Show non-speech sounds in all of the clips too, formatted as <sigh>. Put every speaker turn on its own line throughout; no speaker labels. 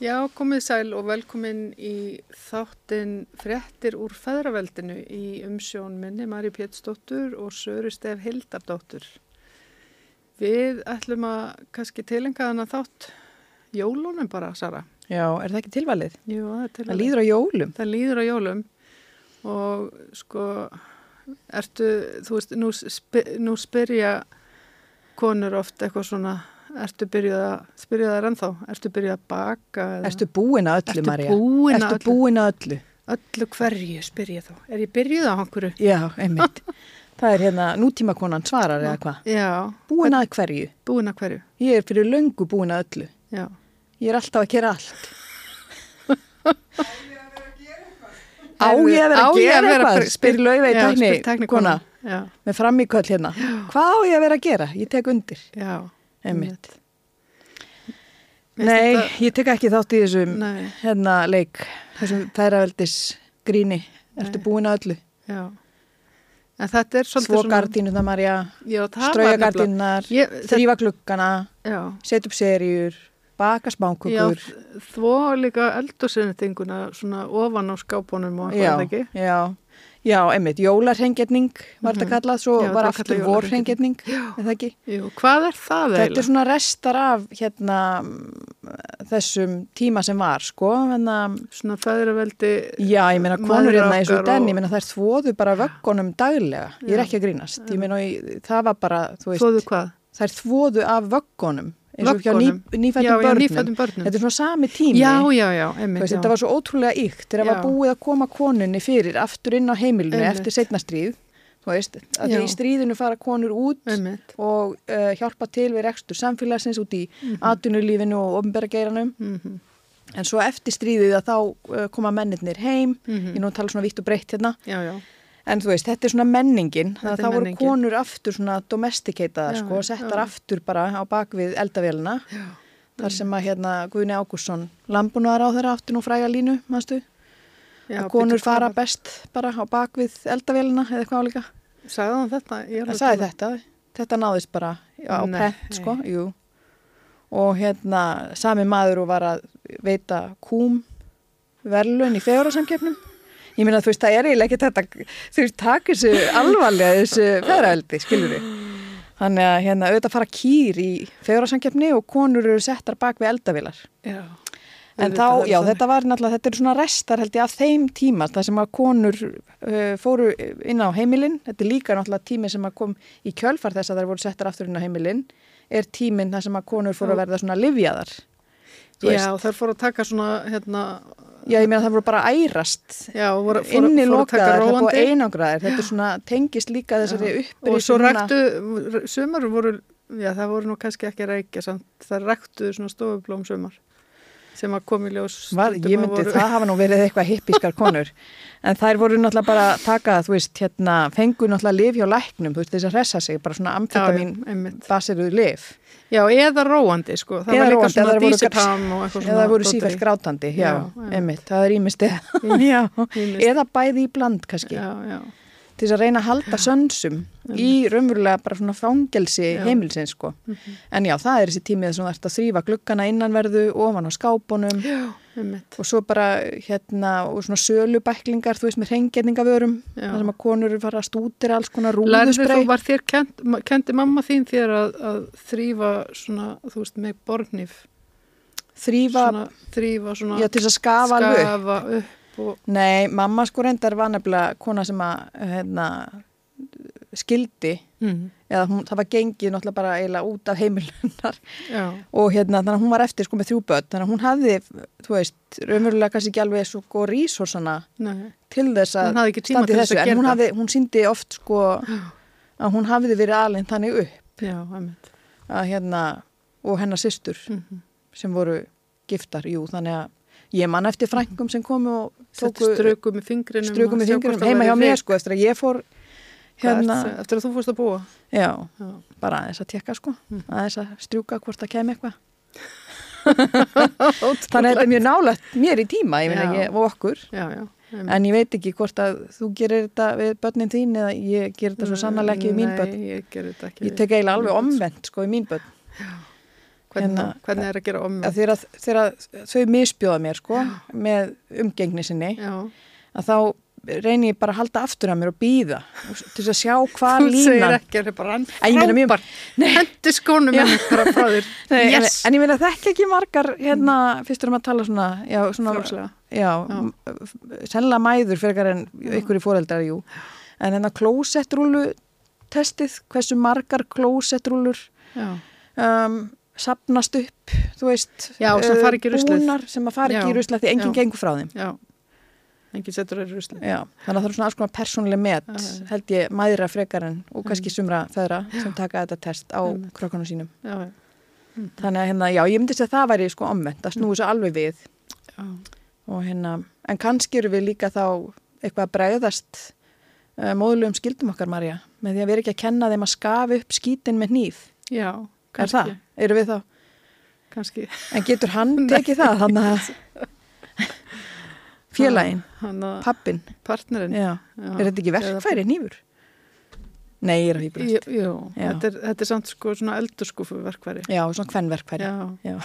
Já, komið sæl og velkomin í þáttin fréttir úr feðraveldinu í umsjón minni Mari Pétsdóttur og Söru Stef Hildardóttur. Við ætlum að kannski tilenga þennan þátt jólunum bara, Sara.
Já, er það ekki tilvalið?
Jú, það er til
Það líður á jólum.
Það líður á jólum og sko, ertu, þú veist, nú, spe, nú spyrja konur oft eitthvað svona, ertu byrjuð að, spyrja þær ennþá, ertu byrjuð að baka eða
Ertu búin að öllu,
Ertu
Marja?
búin að öllu?
Ertu búin að öllu?
öllu hverju spyrja þá? Er ég byrjuð á einhverju?
Já,
<laughs>
einmitt. það er hérna nútímakonan svarar eða hvað?
Já,
Búin að hverju?
búin að hverju,
Ég er fyrir löngu búin að öllu.
já.
Ég er alltaf að gera allt. Á ég að vera
Á
að
ég
gera eitthvað?
að-
Spyr laufið
Já,
í
spyr
tækni, kona,
Já,
með fram í kvöld hérna. Hvað á ég að vera að gera? Ég tek undir.
já.
Einmitt.
Mér
Nei,
finnst
ég tek ekki þátt í þessum
þetta- Nei,
hérna leik, þessum þæraveldis gríni. Ertu
Nei.
búin að öllu?
já. En þetta er svolítið
Svo gardínuna, Marja.
Já, það var
strauja
nefnilega-
gardinnar,
Ég-
þrýfa glukkana,
Já,
setja upp serjur, baka
já
spánkukur.
þvó líka eldursinnitinguna svona ofan á skápunum og eitthvað er það ekki.
já, já, einmitt, jólarhengetning var þetta kallað, svo
Mhm. Já,
var
þetta er
aftur
kallað
vorhengetning, er það ekki?
Jú, hvað er það
Þetta er
eiginlega?
svona restar af hérna mm, þessum tíma sem var, sko, en að,
Svona fæðraveldi,
já, ég meina konur
Mæðra
hérna eins og
okkar
den,
og-
ég meina þær þvoðu bara vöggunum daglega, ég er
Já.
ekki að grínast, ég meina og- það var bara, þú veist,
þóðu hvað?
þær þvoðu af vöggunum, eins og hjá ný,
Vöggunum. Já,
nýfættum
já,
börnum.
nýfættum börnum.
Þetta er svona sami tími.
Já, já, já, einmitt,
Veist,
já.
þetta var svo ótrúlega ykt þegar það var
Já.
búið að koma konunni fyrir aftur inn á heimilinu
Einmitt.
eftir setna stríð þú veist, að því
Já.
í stríðinu fara konur út
Einmitt.
og uh, hjálpa til við rekstur samfélagsins út í atvinnulífinu og ofnbergeiranum
Mhm.
en svo eftir stríðið að þá uh, koma mennirnir heim ég er nú að tala svona vitt og breytt hérna
Mm-hmm. Já, já,
en þú veist, þetta er svona menningin
Þetta er
þannig að þá voru
menningin.
konur aftur svona domestikeitaðar
Já,
sko, og settar
já.
aftur bara á bakvið eldavélina
já.
þar sem að hérna Guðni Ágússon lambunar á þeirra aftur nú fræga línu, manstu?
já
að konur
bíddu, hvað
fara
var-
best bara á bakvið eldavélina eða eitthvað álíka.
Sagði hann þetta? Ég er
Það
alveg
sagði
að-
þetta, þetta náðist bara á
Nei.
pent sko, jú. Og hérna sami maður og var að veita kúm verðlun í fegurarsamkeppnum. Ég meina þú veist það er eiginlega ekki þetta, þú veist taka þessu alvarlega þessu fegurareldi, skilur við. Þannig að hérna auðvitað fara kýr í fegurarsamkeppni og konur eru settar bak við eldavilar.
Já.
En
Auðvitað
þá,
það er
já,
þannig.
þetta var náttúrulega, þetta eru svona restar held ég af þeim tíma, það sem að konur uh, fóru inn á heimilinn, þetta er líka náttúrulega tími sem að kom í kjölfar þess að þær voru settar aftur inn á heimilinn, er tíminn þar sem að konur fóru að verða svona livjaðar. þú
Já, þær fóru að taka svona, hérna,
Já, ég meina það voru bara að ærast,
já, voru, fóru,
inni
fóru að taka
lokaðar, það búið
róandi.
einangraðar, þetta er svona tengist líka þessari uppbyrði.
og svo ræktu, sumar voru, já það voru nú kannski ekki að rækja samt, það ræktu svona stofublóm sumar sem að kom í ljós.
Var,
stundum
ég
að
myndi,
voru-
það hafa nú verið eitthvað hippískar konur en þær voru náttúrulega bara að taka, þú veist, hérna, fengu náttúrulega lif hjá læknum, þú veist, þess að hressa sig bara svona amfetamin
Já, já, einmitt.
baseruðu lif
Já, eða róandi sko, það
Eða
var líka
róandi, eða
svona
þær voru
dísitam og eitthvað svona.
eða voru
dótari.
sífælt grátandi, já,
Já, einmitt.
einmitt, það er ímist
<laughs>
já,
ýmist.
<laughs> eða bæði í bland kannski,
Já, já,
til þess að reyna að halda sönsum í raunverulega bara svona fangelsi
Já. Mhm.
heimilsins sko en já, það er þessi tímið sem þú ert að þrýfa gluggana innanverðu, ofan á skápunum
já, einmitt.
og svo bara hérna og svona sölubæklingar, þú veist, með reyngjerningavörum
Já.
þar sem að konur eru fara að stútir alls konar
Lærði þú,
rúðusbrey
var þér, kend, kendi mamma þín þér að, að þrýfa svona, þú veist, með bornif,
þrýfa,
svona, þrýfa svona,
já, til þess að skafa alveg upp.
skafa upp og,
Nei, mamma sko reyndar var nefnilega kona sem að hérna, skildi
mm,
eða hún, það var gengið náttúrulega bara eiginlega út af heimilunar
já,
og hérna, þannig að hún var eftir sko með þrjú börn þannig að hún hafði, þú veist, raunverulega kannski ekki alveg svo góð rísorsana
nei.
til þess að
Hún hafði ekki tíma
standa í
til þess að
þessu,
gera
en hún,
það.
hafði, hún síndi oft
<gasps>
sko að hún hafði verið alveg þannig upp
Já, einmitt. Mhm.
að hérna og hennar systur sem voru giftar, jú, þannig að ég mann eftir frængum sem komu og
Tóku,
tóku
ströku með fingrinum.
ströku
að
með
sjá hvort
fingrinum
það
heima
væri
hjá mér
ryk.
sko eftir að ég fór
Hvað
hérna,
ert- Eftir að þú fórst að búa.
já,
Já.
bara aðeins að tekka sko
Hm.
aðeins að strjúka hvort það
<laughs>
kemur eitthvað þannig að þetta er mjög nálægt mér í tíma, ég meina
Já.
ég og okkur
Já, já. einmitt.
en ég veit ekki hvort að þú gerir þetta við börnin þín eða ég gerir þetta svo sannarlega ekki við mín börn
Nei, ég gerir þetta ekki
Ég tek eiginlega alveg omvend sko í mín börn.
Hvernig,
Hérna,
hvernig er að gera ommu?
að þegar, þegar þau misbjóða mér sko, með umgengni sinni
Já,
að þá reynir ég bara að halda aftur að mér og býða til þess að sjá hvað
þú segir
línan
ekki að það er bara hann
En ég meina mjög-
frábær, hendi skónum
Já.
henni bara frá þér.
<laughs> Nei, en,
yes,
en ég meina þekki ekki margar hérna, fyrst erum að tala svona, já, svona
Frjálslega.
já,
Já.
m- f- sennilega mæður fyrir en ykkur í foreldrar, jú en hérna klósettrúlu testið, hversu margar klósettrúlur
já,
um, sapnast upp, þú veist
Já, sem
eh,
fara ekki í ruslið.
búnar sem að fara
Já,
ekki í ruslið því enginn
já.
gengur frá þeim
já. Engin setur þér í rusli.
Já, þannig að það er svona alls konar persónuleg met
Já, já, já.
held ég mæðra frekar en og kannski sumra feðra sem taka þetta test á
Einmitt.
krokkanum sínum.
Já, já.
Þannig að hérna, já, ég myndi að það væri sko omvend að snúi svo alveg við
já.
og hérna, en kannski eru við líka þá eitthvað að bregðast uh, móðulegum skildum okkar, Marja með því að við erum ekki að kenna þeim að skafa upp skítin með hníf.
Já,
Er það?
kannski.
Eru við þá?
Kannski.
En getur
<laughs>
hann tekið það? Þannig að félagin,
Hann að
pappin,
partnerinn.
já,
Já.
er þetta ekki
Ah, Eða-
verkfæri hnífur? Nei, ég er að hýbulast.
Jú, jú.
Já.
Þetta, er, þetta er samt sko svona eldurskúfu verkværi.
Já, svona kvennverkfæri. Já.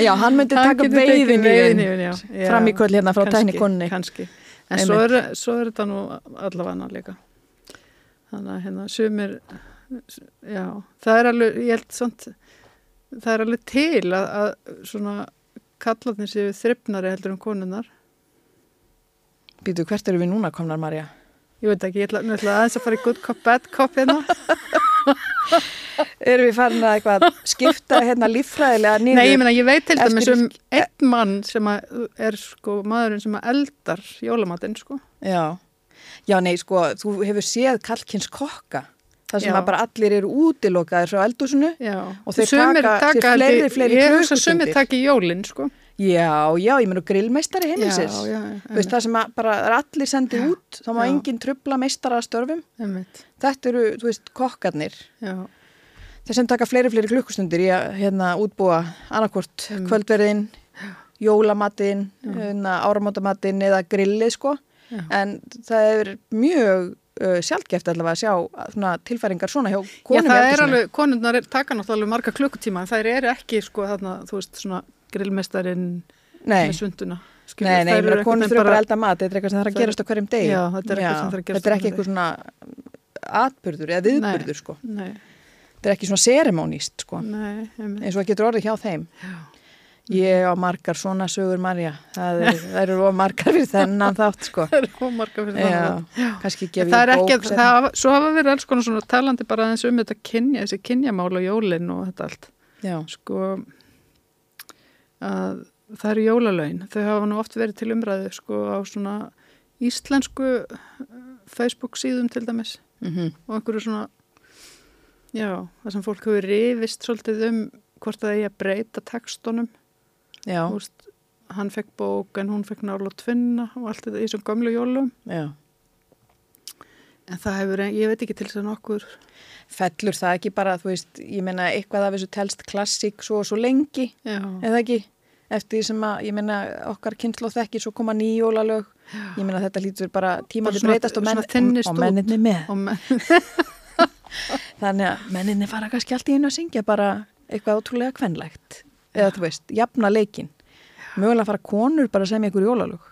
Já,
hann myndi
Hann
taka
getur tekið
veiðin í
veiðin
veginn
yfir, já. Já.
fram í kvöld hérna frá
Kannski,
tæknikonni.
kannski. En svo er, svo er þetta nú allavega annar líka. Þannig að hérna sumir, já, það er alveg, ég held samt, það er alveg til að, að svona kallarnir séu þryfnari heldur en konunnar.
Býtu, hvert eru við núna komnar, Marja?
Ég veit ekki, ég ætla, nú ætla ég aðeins að fara í good cop, bad cop hérna.
<laughs> Erum við farin að eitthvað skipta hérna líffræðilega niður?
Nei, ég meina, ég veit til
Eftir-
dæmis um einn mann sem að er sko maðurinn sem að eldar jólamatinn sko.
Já. Já, nei, sko, þú hefur séð kallkins kokka. Það sem
Já.
að bara allir eru útilokaðir frá eldúsinu.
Já.
Og þeir taka
held ég-
sér fleiri- fleiri
Ég hugsa að
klukkustundir.
sumir taki jólinn sko.
Já, já, ég meina grillmeistari heimilisins.
Já, já,
Þú veist,
einmitt,
það sem að bara er allir sendið út, þá má
Já.
enginn trubla meistara að störfum.
einmitt,
Þetta eru, þú veist, kokkarnir.
já.
Þeir sem taka fleiri, fleiri klukkustundir í að hérna, útbúa annarkvort
Mm.
kvöldverðin, jólamatinn,
Já.
hérna, áramótamatinn eða grillið sko.
Já.
En það er mjög uh, sjálfgeft allavega að sjá að svona, tilfæringar svona hjá
Já,
konum. í
það er
eldhúsinu.
alveg, konundnar taka náttúrulega marga klukkutíma en þær eru ekki, sko, þarna, þú veist, svona grillmestarinn
Nei,
með svunduna. skilur,
nei, nei,
þær
ég meina
eru
konur
einhvern
þurfa
veginn
bara að elda mat, þetta er eitthvað sem þarf að
Þær-
gerast á hverjum degi.
Já, þetta er eitthvað sem þarf að gerast
Þetta er
á
ekki
hverjum
eitthvað svona atbyrður eða viðbyrður sko.
Nei,
Þetta er ekki svona seremónist sko,
nei, einmitt.
eins og það getur orðið hjá þeim. Ég á margar svona sögur Marja,
<laughs>
það er- það eru of margar fyrir þennan þátt sko.
Það er ómarga fyrir
Já,
það. Já.
kannski gefið
Það er ekki,
bók
það, hafa- svo hafa verið alls konar svona talandi bara aðeins um þetta kynja, þessi kynjamál og jólinn og þetta allt.
Já,
Sko, að það eru jólalaun. Þau hafa nú oft verið til umræðu, sko, á svona íslensku eh, Facebook síðum til dæmis.
mm
og einhverju svona já, það sem fólk hefur rifist svolítið um hvort það eigi að breyta textunum
já,
Úst, hann fekk bók en hún fekk nála tvinna og allt þetta í þessum gamlu jólum
já
en það hefur, ein- ég veit ekki til þess að nokkur
Fellur það ekki bara, þú veist, ég meina eitthvað af þessu telst klassík svo og svo lengi
já,
eða ekki, eftir því sem að ég meina okkar kynnslóð þekki svo koma nýjólalög ég meina þetta lítur bara tímandi
Bara svona-
breytast og, menn,
svona þynnist
og, og
út.
menninni með
og menn,
þannig að menninni fara kannski allt í einu að syngja bara eitthvað ótrúlega kvenlegt eða þú veist, jafna leikin mögulega fara konur bara sem ykkur jólalög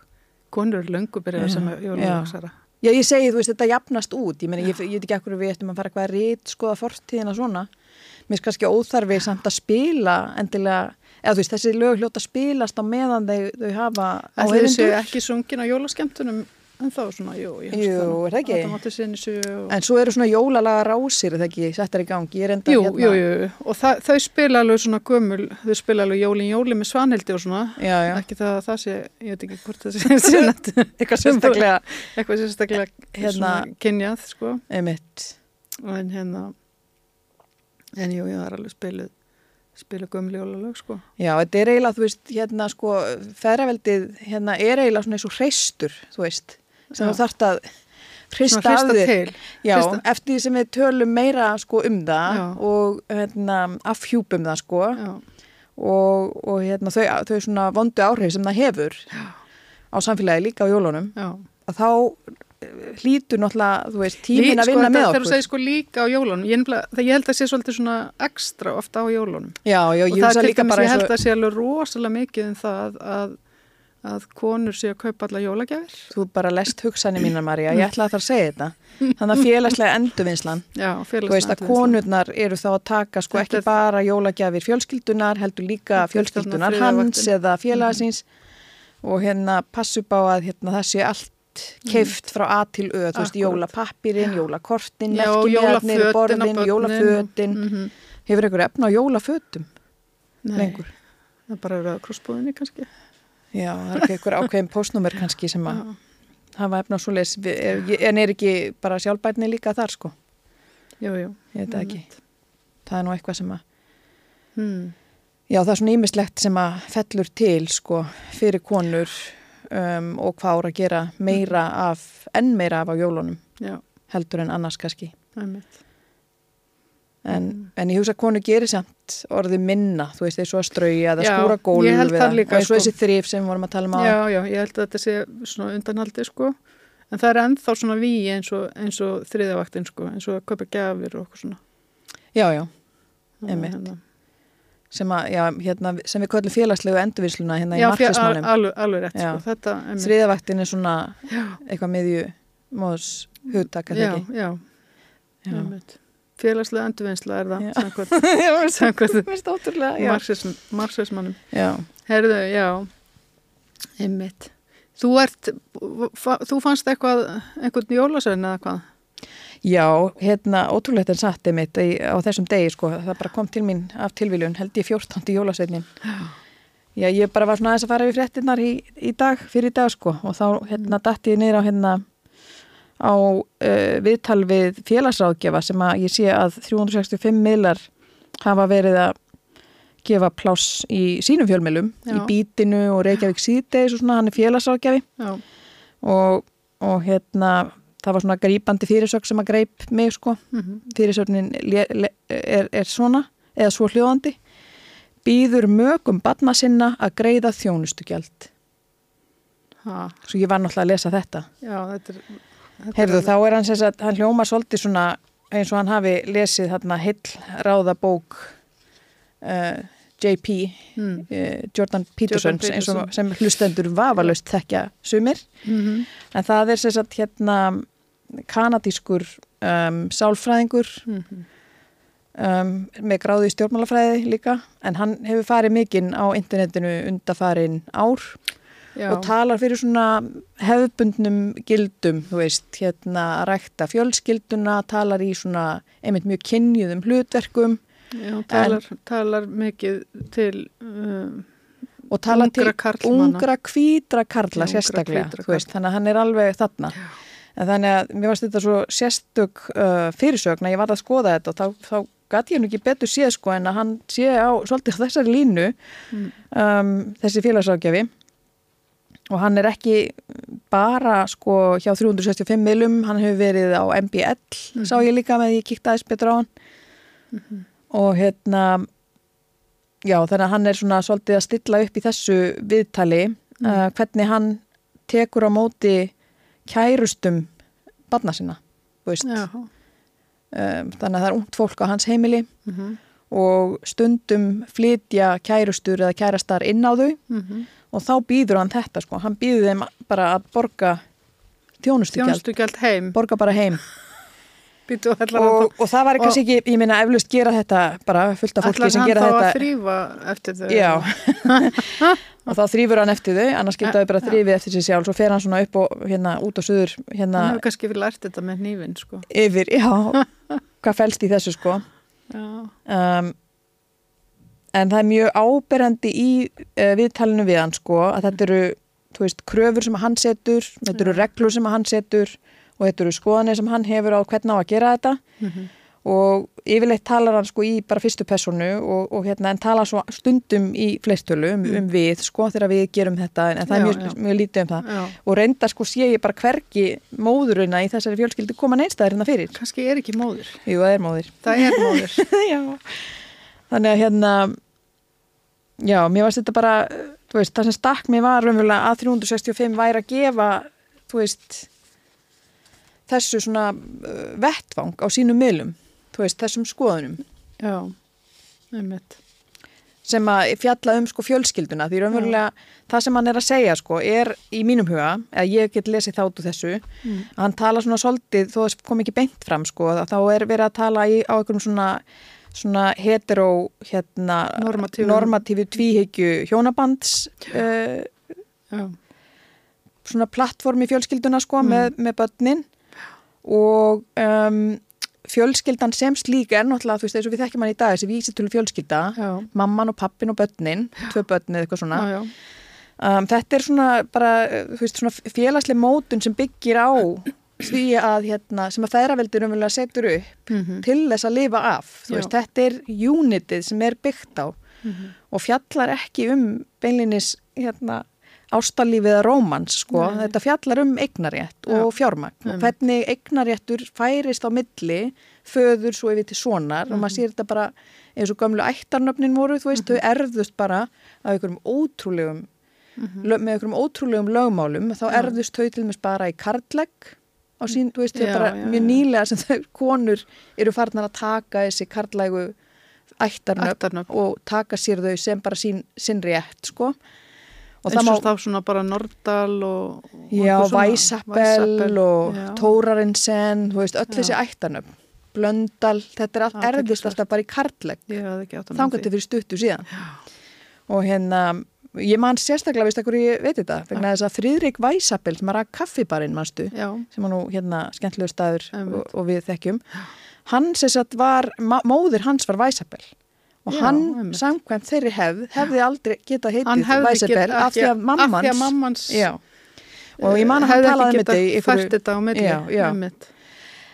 konur er löngu byrjaði
Já,
sem
já.
jólalagsara
Já, ég segi, þú veist, þetta jafnast út. Ég meina, ég, ég veit ekki akkur við ættum að fara eitthvað að rít, skoða fortíðina svona. Mér finnst kannski óþarfi samt að spila endilega, eða þú veist, þessi lög hljóta að spilast á meðan þau, þau hafa
ætli þessu
áheyrendur.
ekki sungin á jólaskemtunum en þá svona, jú, ég
Jú, er það ekki?
Adam Ottesen í sjö og...
En svo eru svona jólalaga rásir, eða ekki, settar í gangi. Ég er enda hérna
Jú, jú, jú, jú. og það, þau spila alveg svona gömul, þau spila alveg jólin jóli með svanhildi og svona,
Já, já.
ekki það að það sé, ég veit ekki <laughs> hvort það sé sinnat,
Eitthvað sérstaklega,
eitthvað sérstaklega
Hérna-
svona kynjað, sko,
einmitt.
en hérna, en jú, ég var alveg spiluð, spiluð gömul jólalög, sko.
Já, þetta er eiginlega, þú veist, hérna, sko, ferraveldið, hérna, er eiginlega svona eins og hreistur, þú veist, sem
Já.
þú þart að
Svona
hrista af
hrista
þér.
til,
Já,
Fyrsta-
eftir því sem við tölum meira sko um það
Já.
og hérna, afhjúpum það sko
já,
og, og hérna, þau, þau svona vondu áhrif sem það hefur á samfélagi líka á jólunum
já,
að þá eh, hlýtur náttúrulega, þú veist, tímin að vinna
sko,
með
Það er
okkur.
að segja sko líka á jólunum. Ég, nefnilega- það- ég held að sé svolítið svona ekstra ofta á jólunum.
Já, já,
og það
ég hugsa
er til
líka
dæmis,
bara
ég
eins
held
og,
að sé alveg rosalega mikið um það að, að konur sé að kaupa alla jólagjafir.
þú bara lest hugsanir mínar, Marja,
Mm.
ég ætla að það að segja þetta.
<laughs>
Þannig að félagslega endurvinnslan,
Já,
þú veist að konurnar eru þá að taka sko
sko. Þetta
ekki
er-
bara jólagjafir fjölskyldunar, heldur líka
Þetta er Mhm. þarna
fjölskyldunar
þriðja
hans
vaktin.
eða félagasins og hérna passu bá að hérna, það sé allt keift frá A til Ö, þú veist,
Mhm. Akkúrat.
jólapappirinn, jólakortin,
Já,
merkinjarnir,
jólafötin á
borðin,
börnin.
jólafötin,
Mm
hefur einhver efna á jólafötum lengur?
Það er bara að rauða krossbúðinni kannski.
Já, það er ekki einhver ákveðin postnúmer kannski sem að
Já.
hafa efna á svo leis, en er ekki bara sjálfbætni líka þar sko,
Jú, jú.
ég veit það ekki. Það er nú eitthvað sem að
Hmm.
Já, það er svona ímislegt sem að fellur til sko fyrir konur um, og hvað ára að gera meira af, enn meira af á jólunum
Já,
heldur en annars kannski.
það er mitt.
En,
Mm.
en ég hugsa að konur gerir samt orðið minna, þú veist, eins og að strauja eða
Já,
skúra gólf
ég held
eða-
það líka,
og eins
sko.
og þessi þrif sem við vorum að tala um á.
Já, já, ég held að þetta sé svona undanhaldi sko. En það er ennþá svona víi eins og, eins og þriðavaktin sko, eins og að kaupa gjafir og okkur svona.
já, já,
Þannig að,
Einmitt.
hérna,
sem, að, já, hérna, sem við köllum félagslegu endurvinsluna hérna
Já,
í
fjö-
marxismannum.
al- alveg, alveg rétt
Já.
sko. Þetta, einmitt.
Þriðavaktin er svona eitthvað miðju móðs hugtak, að
já,
það ekki?
já, einmitt. Félagslega endurvinnsla er það,
Já.
samkvæmt,
<laughs>
<laughs>
Já,
samkvæmt
mér stótturlega, já.
marxism- marxismannum.
Já,
Herðu, já, einmitt. Þú ert, fa- þú fannst eitthvað, einhvern jólasögn eða hvað?
Já, hérna, ótrúlegt en satt einmitt í, á þessum degi, sko, það bara kom til mín af tilviljun, held ég 14. jólasveitnin. Já, ég bara var svona aðeins að fara við fréttinnar í, í dag, fyrir í dag, sko, og þá, hérna, datt ég niður á, hérna, á uh, viðtal við félagsráðgjafa sem að ég sé að 365 miðlar hafa verið að gefa pláss í sínum fjölmilum, í
Já.
bítinu og Reykjavík síðdeis og svona, hann er félagsráðgjafi
Já,
og, og hérna það var svona grípandi fyrirsögn sem að greip mig sko,
mhm,
fyrirsögnin le- le- er, er svona, eða svo hljóðandi býður mögum batna sinna að greiða þjónustugjald
ha,
svo ég var náttúrulega að lesa þetta
já, þetta er... þetta er
Heyrðu,
alveg-
þá er hann sem sagt, hann hljómar svolítið svona eins og hann hafi lesið þarna heill ráðabók uh, JP
Mm.
uh, Jordan Peterson, eins
Peterson.
og sem hlustendur vafalaust þekkja sumir
Mhm,
En það er sem sagt hérna kanadískur um, sálfræðingur
mhm.
um, með gráði í stjórnmálafræði líka en hann hefur farið mikinn á internetinu undafarin ár
Já,
og talar fyrir svona hefðbundnum gildum, þú veist, hérna að rækta fjölskylduna, talar í svona einmitt mjög kynjuðum hlutverkum
já, talar, talar mikið til um,
og talar til
ungra karlmanna.
ungra hvítra karla
Ungra
sérstaklega,
hvítra
þú veist, þannig að hann er alveg þarna. En þannig að mér varst þetta svo sérstök uh, fyrirsögn að ég var að skoða þetta og þá, þá gæti ég nú ekki betur séð sko en að hann sé á svolítið á þessari línu
Mm.
um, þessi félagsákjafi og hann er ekki bara sko hjá 365 milum, hann hefur verið á MBL, sá ég líka með ég kíkti aðeins betur á hann
mhm.
og hérna já þannig að hann er svona svolítið að stilla upp í þessu viðtali uh, hvernig hann tekur á móti kærustum barna sinna þú veist.
Já,
um, þannig að það er ungt fólk á hans heimili
mhm,
og stundum flytja kærustur eða kærastar inn á þau
mhm.
og þá býður hann þetta sko, hann býður þeim bara að borga þjónustugjald,
Þjónustugjald heim,
borga bara heim
býtu allar
og, og það var kannski ekki, ég minna eflust gera þetta bara fullt af fólki sem
hann
gera
þá að
þetta
þrýfa eftir þau? <laughs>
Já, og þá þrýfur hann eftir þau, annars geta þau bara þrýfið eftir sér sjálf, svo fer hann svona upp og hérna út og suður hérna
Hann hefur kannski fyrir lært þetta með nývin, sko.
yfir,
<laughs>
já, hvað fælst í þessu sko.
Já,
Um, en það er mjög áberandi í uh, viðtalinu við hann sko, að þetta eru, þú veist, kröfur sem hann setur, þetta eru reglur sem hann setur og þetta eru skoðanir sem hann hefur á hvernig á að gera þetta
mhm,
og yfirleitt talar hann sko í bara fyrstu personu og, og hérna en talar svo stundum í fleirtölu um, um við sko þegar við gerum þetta en, en það
Mm. Já,
er mjög,
já.
mjög lítið um það
já.
og reynda sko sé ég bara hvergi móðuruna í þessari fjölskyldu koma neinstæðir hérna fyrir
Kannski er ekki móður.
Jú, það er móðir
Það er móður.
<laughs> já. Þannig að hérna já, mér varst þetta bara þú veist, það sem stakk mér var raunverulega að 365 væri að gefa þú veist þessu svona uh, vettvang á sínum miðlum, þú veist, þessum skoðunum
já, einmitt.
sem að fjalla um sko fjölskylduna því raunverulega það sem hann er að segja sko er í mínum huga, eða ég get lesið þá út úr þessu,
Mm.
að hann tala svona svolítið, þó þess kom ekki beint fram sko að þá er verið að tala í, á einhverjum svona svona hetero hérna,
Normatífum.
normatífu tvíhyggju hjónabands uh,
Já,
svona plattform í fjölskylduna sko
Mm.
með, með börnin og um, fjölskyldan sem slík er náttúrulega þú veist eins og við þekkjum hann í dag þessi vísitölu fjölskylda
já,
mamman og pappin og börnin, tvö börnin eða eitthvað svona.
já, já,
Um, þetta er svona bara, uh, þú veist, svona félagsleg mótun sem byggir á því að, hérna, sem að feðraveldinu umverulega setur upp
mhm,
til þess að lifa af. Þú
Já.
veist, þetta er unitið sem er byggt á
mhm,
og fjallar ekki um beinlinis, hérna, ástalífið að rómans, sko.
Nei.
Þetta fjallar um eignarétt og fjármagn og
Einmitt.
hvernig eignaréttur færist á milli föður svo yfir til sonar og
Mhm.
maður sér þetta bara eins og gamlu ættarnöfnin voru, þú veist, þau erðust bara af einhverjum ótrúlegum
mhm.
lög, með einhverjum ótrúlegum lögmálum þá
Já.
erðust þau til mér bara í kartlegg á sín, þú veist, þau
Já,
bara
já,
mjög
já.
nýlega sem þau konur eru farnar að taka þessi kartlægu ættarnöfn
Ættarnöfn.
og taka sér þau sem bara sín, sín rétt, sko og
Eins
það
og
má,
þá svona bara Nordal og... og
já,
eitthvað svona.
Væsappel og
já.
Tórarinsen, þú veist, öll
Já.
þessi ættarnöfn Blöndal, þetta er allt
Athyglisvert.
erðist alltaf bara í kartlegg
Ég hafði ekki átt að
þangat fyrir stuttu síðan og hérna, ég man sérstaklega veist akkur ég veit þetta, vegna þess að Fríðrik Væsapel sem að rak kaffibarinn, manstu
Ah. Já,
sem var nú hérna skemmtlegur staður
Einmitt.
og, og við þekkjum hann sem sagt var, ma- móðir hans var Væsapel og
Já,
hann
einmitt.
samkvæmt þeirri hefð hefði aldrei getað
hann
heitið
hefði
Væsapel
getað-
af því að
af því að
mammans
mammans
já, og ég man að hann
hefði
talaði
ekki
um þetta
getað
í
fært
einhverju
þetta á milli
Já, já.
einmitt.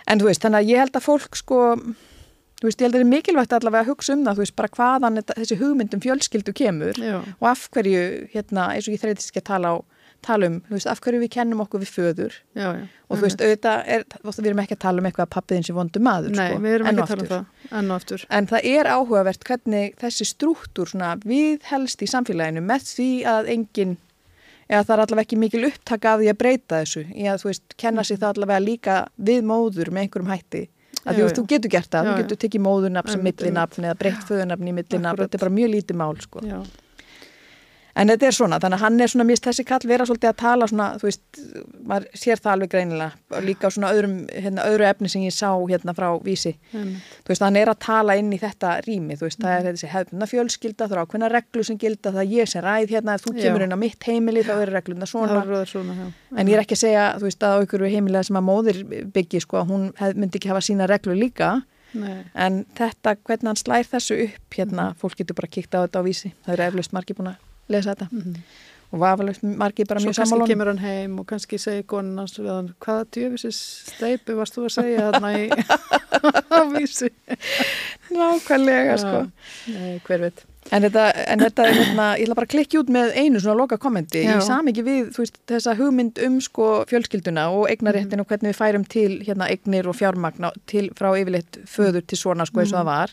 En þú veist, þannig að ég held að fólk sko, þú veist, ég held að það er mikilvægt allavega að hugsa um það, þú veist, bara hvaðan þetta, þessi hugmyndum fjölskyldu kemur
Já,
og af hverju, hérna, eins og ég þreytist ekki að tala, á, tala um, þú veist, af hverju við kennum okkur við föður
já, já.
og þú
Mhm.
veist, auðvitað er, þú veist, við erum ekki að tala um eitthvað að pappiðin sem vondu maður,
Nei,
sko,
við erum
enn
ekki að
og
tala um
aftur.
það enn og aftur.
En það er áhugavert hvernig þessi strúktúr svona viðhelst í samfélaginu með því að enginn, eða það er allavega ekki mikil upptaka af því að breyta þessu, í að þú veist, kenna sig það allavega líka við móður með einhverjum hætti.
Mhm. Já,
Að því, þú veist,
já.
þú getur gert það,
Já,
þú
já.
getur tekið móðurnafn sem
Einmitt,
millinafn eða breytt föðurnafn í millinafn,
Akkúrat.
þetta er bara mjög lítið mál sko.
Já,
En þetta er svona, þannig að hann er svona, mér finnst þessi kall vera svolítið að tala svona, þú veist, maður sér það alveg greinilega, og líka á svona öðrum, hérna, öðru efni sem ég sá hérna frá vísi
einmitt.
þú veist, hann er að tala inn í þetta rými, þú veist, það er þessi hefðbundna fjölskylda, það eru ákveðna reglu sem gilda, það er ég sem ræð hérna, ef
Já.
þú
Mhm.
kemur inn á mitt heimili, þá eru regluna
Það
svona.
voru það svona, já.
En ég er ekki að segja, þú veist, að á ykkur heimilega sem að móðir byggi, sko, að hún hef, myndi ekki hafa sína reglu líka,
Nei,
en þetta, hvernig hann slær þessu upp, hérna, fólk getur bara kíkt á þetta á vísi, það eru eflaust margir búin að lesa þetta
mhm.
og vafalaust margir bara
Svo
mjög
kannski
sammálunum.
kemur hann heim og kannski segir konan hans við hann, hvaða djöfisis steipu varst þú að segja þarna í <laughs> á vísi?
Nákvæmlega, sko.
Já, Nei, hver veit.
En þetta, en þetta er hérna, ég ætla bara að klikki út með einu svona loka kommenti
Já.
í samingi við þú veist, þessa hugmynd um sko fjölskylduna og
Mhm.
eignaréttin og hvernig við færum til hérna eignir og fjármagna til frá yfirleitt föður til svona sko
Mhm.
eins og það var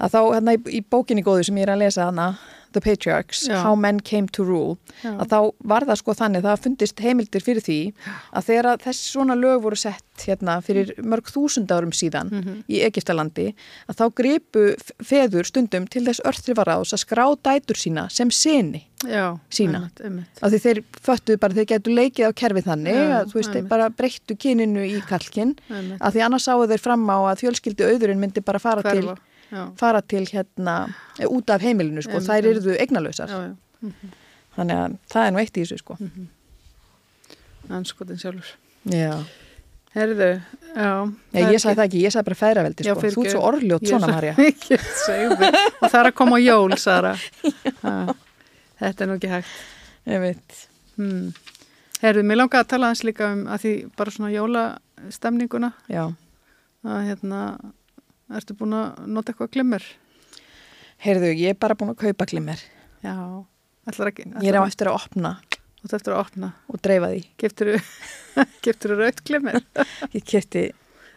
að þá hérna í, í bókinni góðu sem ég er að lesa hana The Patriarchs,
Já.
How Men Came to Rule
Já.
að þá var það sko þannig það fundist heimildir fyrir því að þegar að þessi svona lög voru sett hérna fyrir mörg þúsund árum síðan í Egiptalandi að þá gripu f- feður stundum til þess örþrifaráðs að skrá dætur sína sem sinni
Já,
Sína.
einmitt, einmitt.
að því þeir föttuðu bara að þeir getu leikið á kerfið þannig
Já,
að þú veist þeir
einmitt.
bara breyttu kyninu í kalkin
einmitt.
að því annars sáu þeir fram á að fjölskyldu auðurinn myndi bara fara
Hverfa.
til
Já,
fara til hérna eh, út af heimilinu sko,
Einmitt,
þær
einmitt.
eruðu eignalausar
já, Mhm. já.
þannig að það er nú eitt í þessu sko
Anskotin sjálfur.
Já,
Herðu, já.
Nei, ég sagði það ekki, ég sagði bara feðraveldi
Já,
sko, þú ert
fyrirgefðu.
svo orðljótt
Ég
svona
sagði-
Marja
<laughs> Ég sagði það. Og það er að koma á jól,
<laughs>
Sara. Ha, Þetta er nú ekki hægt.
Ég veit,
Hmm. Herðu, mér langaði að tala aðeins líka um að því bara svona jólastemninguna
já
að hérna, ertu búin að nota eitthvað glimmer?
Heyrðu, ég er bara búin að kaupa glimmer
Já, ætlar ekki.
Ég er á eftir að opna
Þú ert eftir að opna.
og dreifa því
<laughs> Giftur þú raut
<laughs>
glimmer?
Ég kefti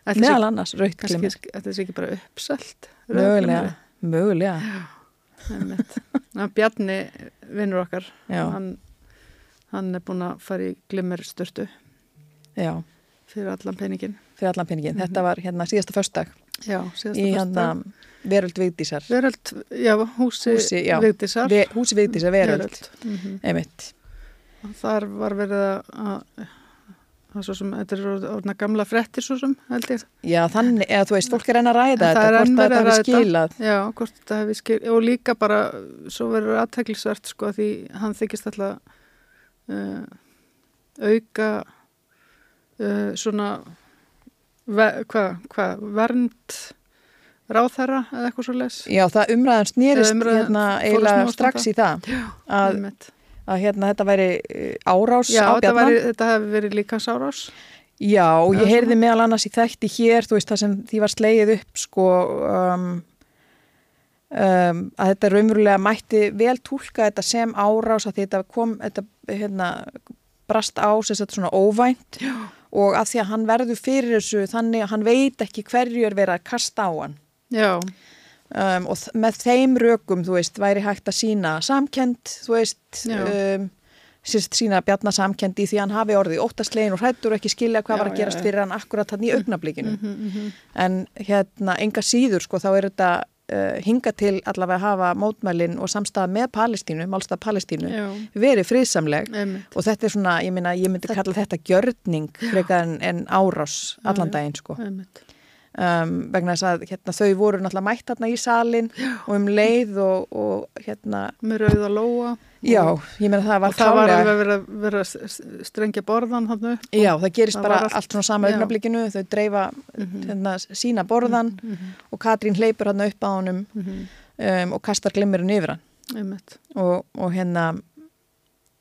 Ætli sé-
meðal annars raut
kannski-
glimmer
Ætli þessi ekki bara uppselt?
Mögulega, mögulega <laughs>
Ná, Bjarni, vinnur okkar,
Já,
hann, hann er búin að fara í glimmerstörtu
já,
fyrir allan peningin.
fyrir allan peningin.
Mhm.
Þetta var hérna síðasta föstdag
Já, síðasta
í hérna
föstudag.
veröld Vigdísar.
Veröld, já, húsi,
Húsi, já.
Vigdísar.
Ve, húsi Vigdísar veröld.
Mhm.
Einmitt.
Og Þar var verið að, að, að svo sem, þetta er orðna gamla frettir svo sem, held ég.
Já, þannig, eða þú veist, fólk er enn að ræða
En það
þetta,
er enn
hvort
verið
þetta
að
hafi
ræða þetta.
skilað.
Já, hvort þetta hefði skil, og líka bara, svo verður aðteglisvert sko því hann þykist alltaf uh, auka uh, svona, ve, hva, hva, vernd ráþara eða eitthvað svo les.
Já, það umræðan snerist
Eða umræðan fór
hérna
smá
eiginlega
stund
strax í það að, að hérna þetta væri eh, árás
Já,
á
þetta,
Bjarnan.
væri, þetta hefði verið líka sárás.
Já, og
Eða
ég heyrði
svona.
meðal annars í þætti hér, þú veist, það sem því var slegið upp, sko, um, um, að þetta raunverulega mætti vel túlka þetta sem árás að því þetta kom, þetta, hérna, brast á, sem þetta svona óvænt Já. og að því að hann verður fyrir þessu þannig að hann veit ekki hverju er verið að kasta á hann.
Já,
Um, og þ- með þeim rökum, þú veist, væri hægt að sína samkend, þú veist,
Já.
um, sérst sína bjarna samkend í því að hann hafi orðið óttaslegin og hrættur og ekki skilja hvað
Já,
var að
já,
gerast
já.
fyrir hann akkurat þannig í augnablikinu.
mhm, mhm.
En hérna, enga síður, sko, þá er þetta uh, hinga til allavega að hafa mótmælin og samstað með Palestínu, málstað Palestínu,
já,
verið friðsamleg.
einmitt.
Og þetta er svona, ég minna, ég myndi kalla þetta gjörning frekar en, en árás
Já,
allan
já.
daginn, sko
Einmitt.
um, vegna þess að hérna, þau voru náttúrulega mætt þarna í salin og um leið og, og hérna,
Með rauða lóa.
já, ég meina það var
og það var
klárlega-
alveg verið að vera að s- s- strengja borðan hann upp.
Já, það gerist
Það
bara
var
allt,
allt-
svona sama
já. Mm.
augnablikinu, þau dreifa
Mhm.
hérna, sína borðan og Katrín hleypur hann upp að honum um, og kastar glimmirinn yfir hann
mhm. Einmitt.
og, og hérna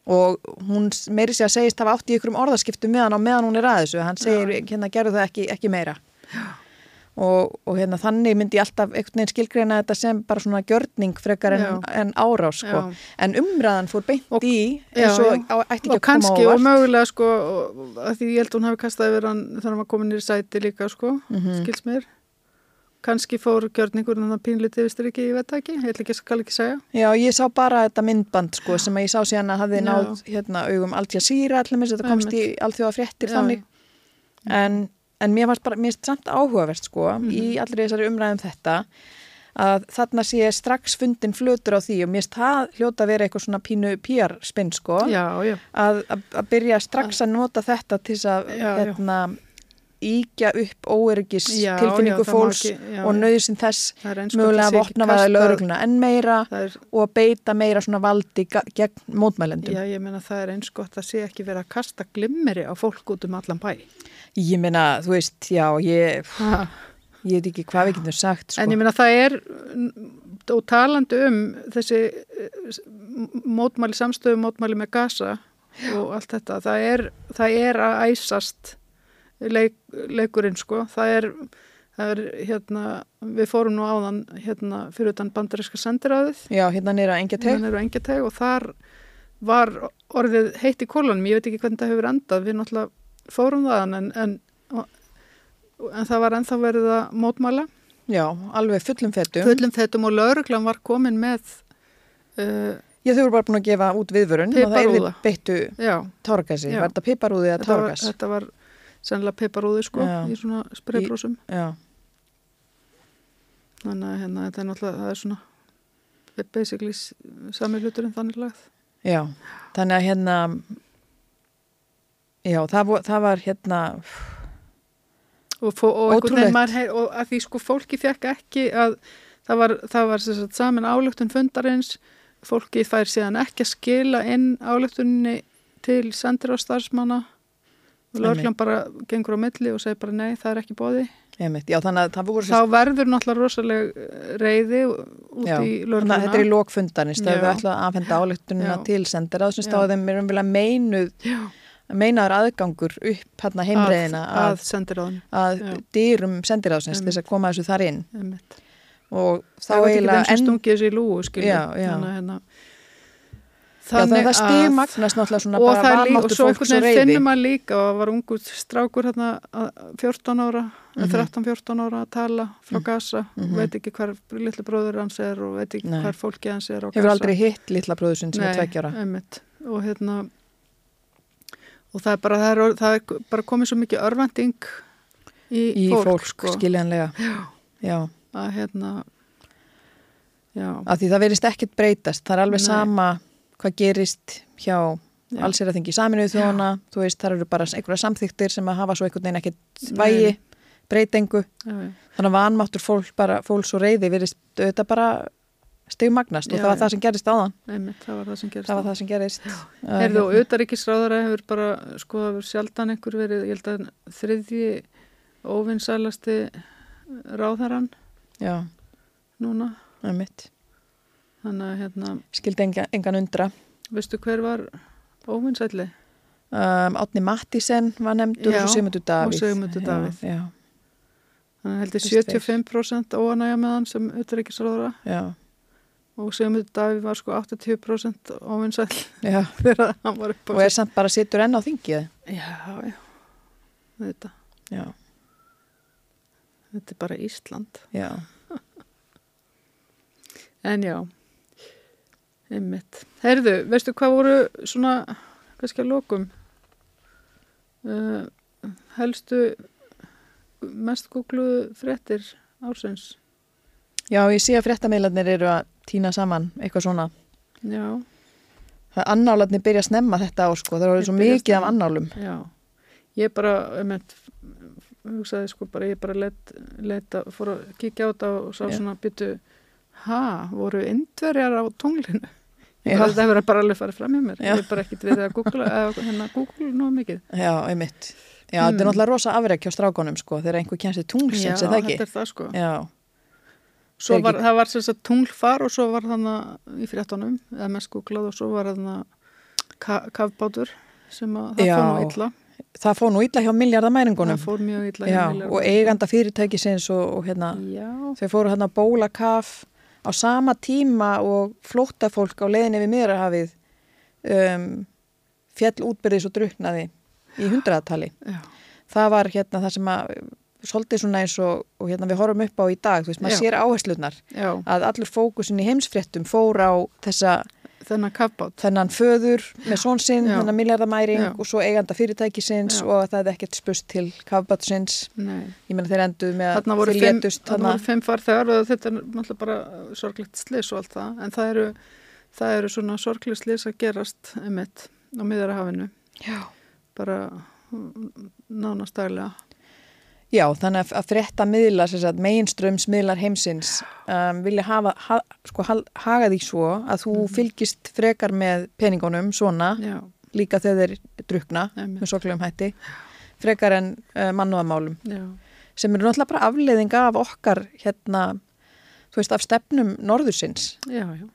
og hún s- meiri sig að segist hafa átt í ykkurum orðaskiptum með hann á meðan hún er að þessu hann segir, hérna, gerðu það ekki, ekki meira og, og hérna, þannig myndi ég alltaf einhvern veginn skilgreina þetta sem bara svona gjörning frekar en, en árás sko.
Já.
en umræðan fór beint
Og-
í
já,
eins og
já.
á- ætti ekki
Og
að koma á
kannski, og
óvart.
mögulega sko, og- og- að því ég held hún hafi kastað yfir hann þannig að maður komið nýri sæti líka sko,
Mhm.
skils mér. Kannski fór gjörningurinn hann að pínlítið vistur ekki, ég veit það ekki, ég ætla ekki að skal ekki segja.
Já, ég sá bara þetta myndband sko, sem að ég sá síðan að hafði
Já.
náð hérna, augum alltaf síra allir þetta komst í alþjóða fréttir
Já,
þannig en, en mér varst bara, mér finnst samt áhugavert sko í
Mhm.
allri þessari umræðum þetta að þarna sé strax fundin flötur á því og mér finnst það hljóta að vera eitthvað svona pínu PR-spinn sko
Já, já,
að, að, að byrja strax að nota þetta til þess að
Já, já.
hérna, íkja upp óergis
Já,
tilfinningu
já, það má
fólks
ekki- já,
og
já.
nöðsin þess
það er eins og
mögulega
það sé
að
ekki
vopna væða
kastað-
lögregluna enn meira
Það er,
og að beita meira svona valdi ga- gegn mótmælendum.
já, ég meina það er eins gott að sé ekki verið að kasta glimmeri á fólk út um allan bæ.
Ég meina, þú veist, já, ég,
Ha.
ég veit ekki hvað við getum sagt, sko.
En ég meina það er, n- og talandi um þessi eh, s- m- mótmæli samstöðu, mótmæli með gasa og allt þetta, það er, það er að æsast leik, leikurinn sko, það er, það er hérna, við fórum nú áðan hérna fyrir utan bandaríska sendiráðið,
Já, hérna nýra engja teg.
þannig eru engjateg og þar var orðið heitt í kólanum, ég veit ekki hvernig það hefur endað, við náttúrulega fórum þaðan en, en, en það var ennþá verið að mótmæla
Já, alveg fullum fettum.
fullum fettum og lauruglan var komin með uh,
Ég þau voru bara búin að gefa út viðvörun og það
Piparúða.
erði beittu
já,
tárgasi.
Já.
Var þetta piparúði eða
þetta var,
tárgas?
þetta var sennilega peiparúði sko
Já.
í svona spreybrúsum
Já,
þannig að hérna, þetta er náttúrulega það er svona basically s- sami hlutur en þannig lagð
já. Þannig að hérna, já, það, vo- það var hérna,
og, fó, og, einhvern
Ótrúlegt.
veginn maður heyr- og að því sko fólki fekk ekki að það var, það var sem sagt, samin álöktun fundarins fólki fær síðan ekki að skila inn álöktuninni til sendir á starfsmanna og lauruglan bara gengur á milli og segir bara nei, það er ekki bóði
einmitt, já, þannig að það voru
þá verður náttúrulega rosaleg eh, reiði út
Já,
í
Þannig
lörgluna.
að þetta er í lokfundanist að
hérna- Já.
við ætlaði að afhenda álíktununa
Já.
til sendiráð sem
Já.
stáði þeim erum vilja meinuð meinaður aðgangur upp hérna heimreiðina
að,
að,
að sendir á hann.
að,
já.
dýrum sendiráðsins til þess að koma þessu þar inn og þá
Það er ekki þeim
eiginlega
sem
enn,
stungið þessi í lúu, skilur.
Já, já.
Þannig, að hérna,
já, þannig að það
að-
stigmagnast náttúrulega svona
og,
bara
það lí- og
vanmáttur
svo einhvern
fólks og
veginn
reyði
finnum maður líka og það var ungur strákur hérna að- að 14 ára, mm
Mhm.
13-14 ára að tala frá Gaza,
Mhm.
veit ekki hvar litlu bróður hans er og veit ekki
Nei.
hvar fólkið hans er á
hefur
Gaza.
aldrei hitt litla bróðusinn sem
Nei,
er tveggjára
einmitt. og hérna og það er bara, það er, orð- það er bara komið svo mikið örvending í,
í fólk,
fólk, sko.
skiljanlega
Já,
já,
að hérna, já,
af því það verist ekkit breytast það er alveg
Nei.
sama hvað gerist hjá
Já.
alls er að þingi saminuð þjóna þú veist, það eru bara einhverja samþyktir sem að hafa svo einhvern veginn ekkit
Nei.
vægi breytingu,
já, já.
þannig að vanmáttur fólk bara, fólks og reyði verist auðvitað bara stigmagnast og
Já,
það var
já.
það sem gerist áðan
Einmitt, það var það sem gerist.
það var það sem gerist Uh,
Herðu og
hérna.
auðaríkisráðara hefur bara sko hefur sjaldan einhver verið, ég held að þriðji óvinnsælasti ráðaran
já,
núna.
það er mitt
Þannig að hérna,
skildi engan, engan undra
veistu hver var óvinnsæli?
um, Átni Mattísen var nefndur
Já,
og Sigmundur Davíð
og Sigmundur Davíð.
já, já,
Þannig að held ég
Fyrst
75% óanægja með hann sem auðaríkisráðara
já,
og Sigmundur Davíð var sko 80% óvinnsæli
já.
<laughs> þegar hann var upp á
og er samt bara sittur enn á þingið
Já, já, þetta,
já,
þetta er bara Ísland.
já,
En já, einmitt. Herðu, veistu hvað voru svona, kannski að lokum, uh, helstu, mest googluðu fréttir ársins?
já, ég sé að fréttamiðlarnir eru að týna saman eitthvað svona
Já,
það er annálarnir byrja að snemma þetta ár sko, það er orðið
Þeir
svo
byrja
mikið af
snemma.
annálum
já. Ég bara, einmitt, hugsaði sko bara, ég bara let, leta, fór að kíkja á þetta og sá
Já.
svona byttu, ha, voru indverjar á tunglinu?
Já.
Ég held að það hefur bara alveg farið fram í mér.
Já.
Ég hef bara ekkit verið að googla, að, hérna, googla nú mikið.
já, einmitt já, þetta er
Hmm.
náttúrulega rosa afrekk hjá strákonum sko, þegar einhver kjænst í tunglsins, er það
þetta
ekki?
er það sko.
já,
Svo
Þeir
var,
ekki-
það var sem sagt tunglfar og svo var þannig í fréttunum, eða með skúklað og svo var þannig ka kafbátur sem að það
Já,
fór nú illa.
það fór nú illa hjá miljardamæringunum
Það fór mjög illa.
já,
heimilega.
og eiganda fyrirtækisins og, og hérna
Já,
Þau fóru hann að bóla kaff á sama tíma og flóttafólk á leiðinni við miðrahafið um, fjall útbyrðis og druknaði í hundraðatali.
já,
Það var hérna það sem að svolítið svona eins og, og hérna við horfum upp á í dag, þú veist, maður
Já.
sér áherslunar
já,
að allur fókusin í heimsfréttum fór á þessa,
þennan kafbát.
þennan föður með són sinn,
Já.
þennan miljardamæring
Já.
og svo eiganda fyrirtækisins
Já.
og að það hefði ekkert spust til kafbatsins.
Nei,
Ég meina þeir enduðu með
þarna
að
voru,
þeir
fimm,
létust
þarna voru fimm farþegar og þetta er náttúrulega bara sorglegt slis og allt það, en það eru, það eru svona sorglegt slis að gerast um eitt á miðarahafinu,
Já.
bara mm, nánast daglega.
Já, þannig að, að frétta miðlar, meginströms miðlar heimsins um, vilja hafa, ha, sko, hal- haga því svo að þú fylgist frekar með peningunum svona,
Mhm. Já,
líka þegar þeir drukna
Einmitt.
með sorglegum hætti, frekar en uh, mannúðamálum
já,
sem eru náttúrulega bara afleiðinga af okkar hérna, þú veist, af stefnum norðursins
já, já.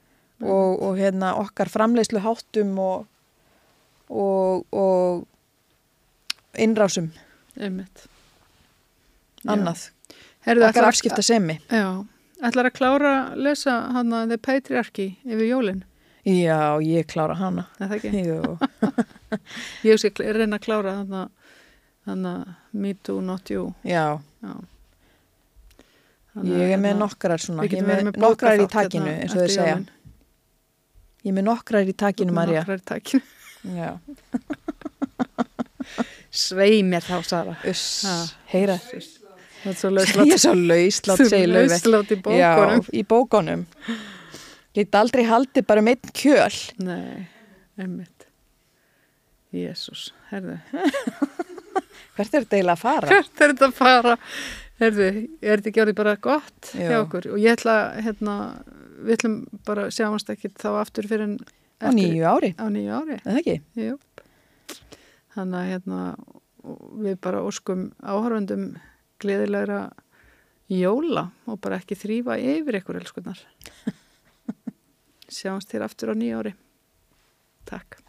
og, og hérna okkar framleiðslu háttum og, og, og innrásum
Einmitt.
annað,
Herðu,
okkar
ætlar,
afskipta semi.
að- Já, ætlar að klára að lesa hann að The Patriarchy yfir jólinn,
Já, ég klára hana.
er það
<laughs>
ekki?
Jú.
Ég skal kl- reyna að klára hann að, hann að Me Too, Not You,
Já,
já. Þannig að,
ég er með
hérna,
nokkrar svona,
við
ég
getum
er
verið
með
bókaþátt
nokkrar í
hérna
takinu eins og
eftir
þau segja.
jólin.
Ég er með nokkrar í takinu, Marja.
Nokkrar í
<laughs>
takinu.
Já,
Svei mér þá, Sara. Ha.
uss, heyra.
Það er svo
<laughs> Ég
lauslátt.
er svo lauslátt, segir Lauvi.
Lauslátt í bókunum.
Já, í bókunum. Ég get aldrei haldið bara um einn kjöl.
Nei, einmitt. Jésús, herðu.
Hvert er þetta eiginlega að fara?
hvert er þetta að fara Herðu, er þetta ekki orðið bara gott
Já.
hjá okkur og ég ætla hérna, við ætlum bara sjáumst ekki þá aftur fyrir en
Á nýju ári,
á nýju ári
er það ekki?
Jú. þannig að hérna, og við bara óskum áhörfundum gleðilegra jóla og bara ekki þrýfa yfir
<laughs>
ykkur elskunar sjáumst þér aftur á nýju ári Takk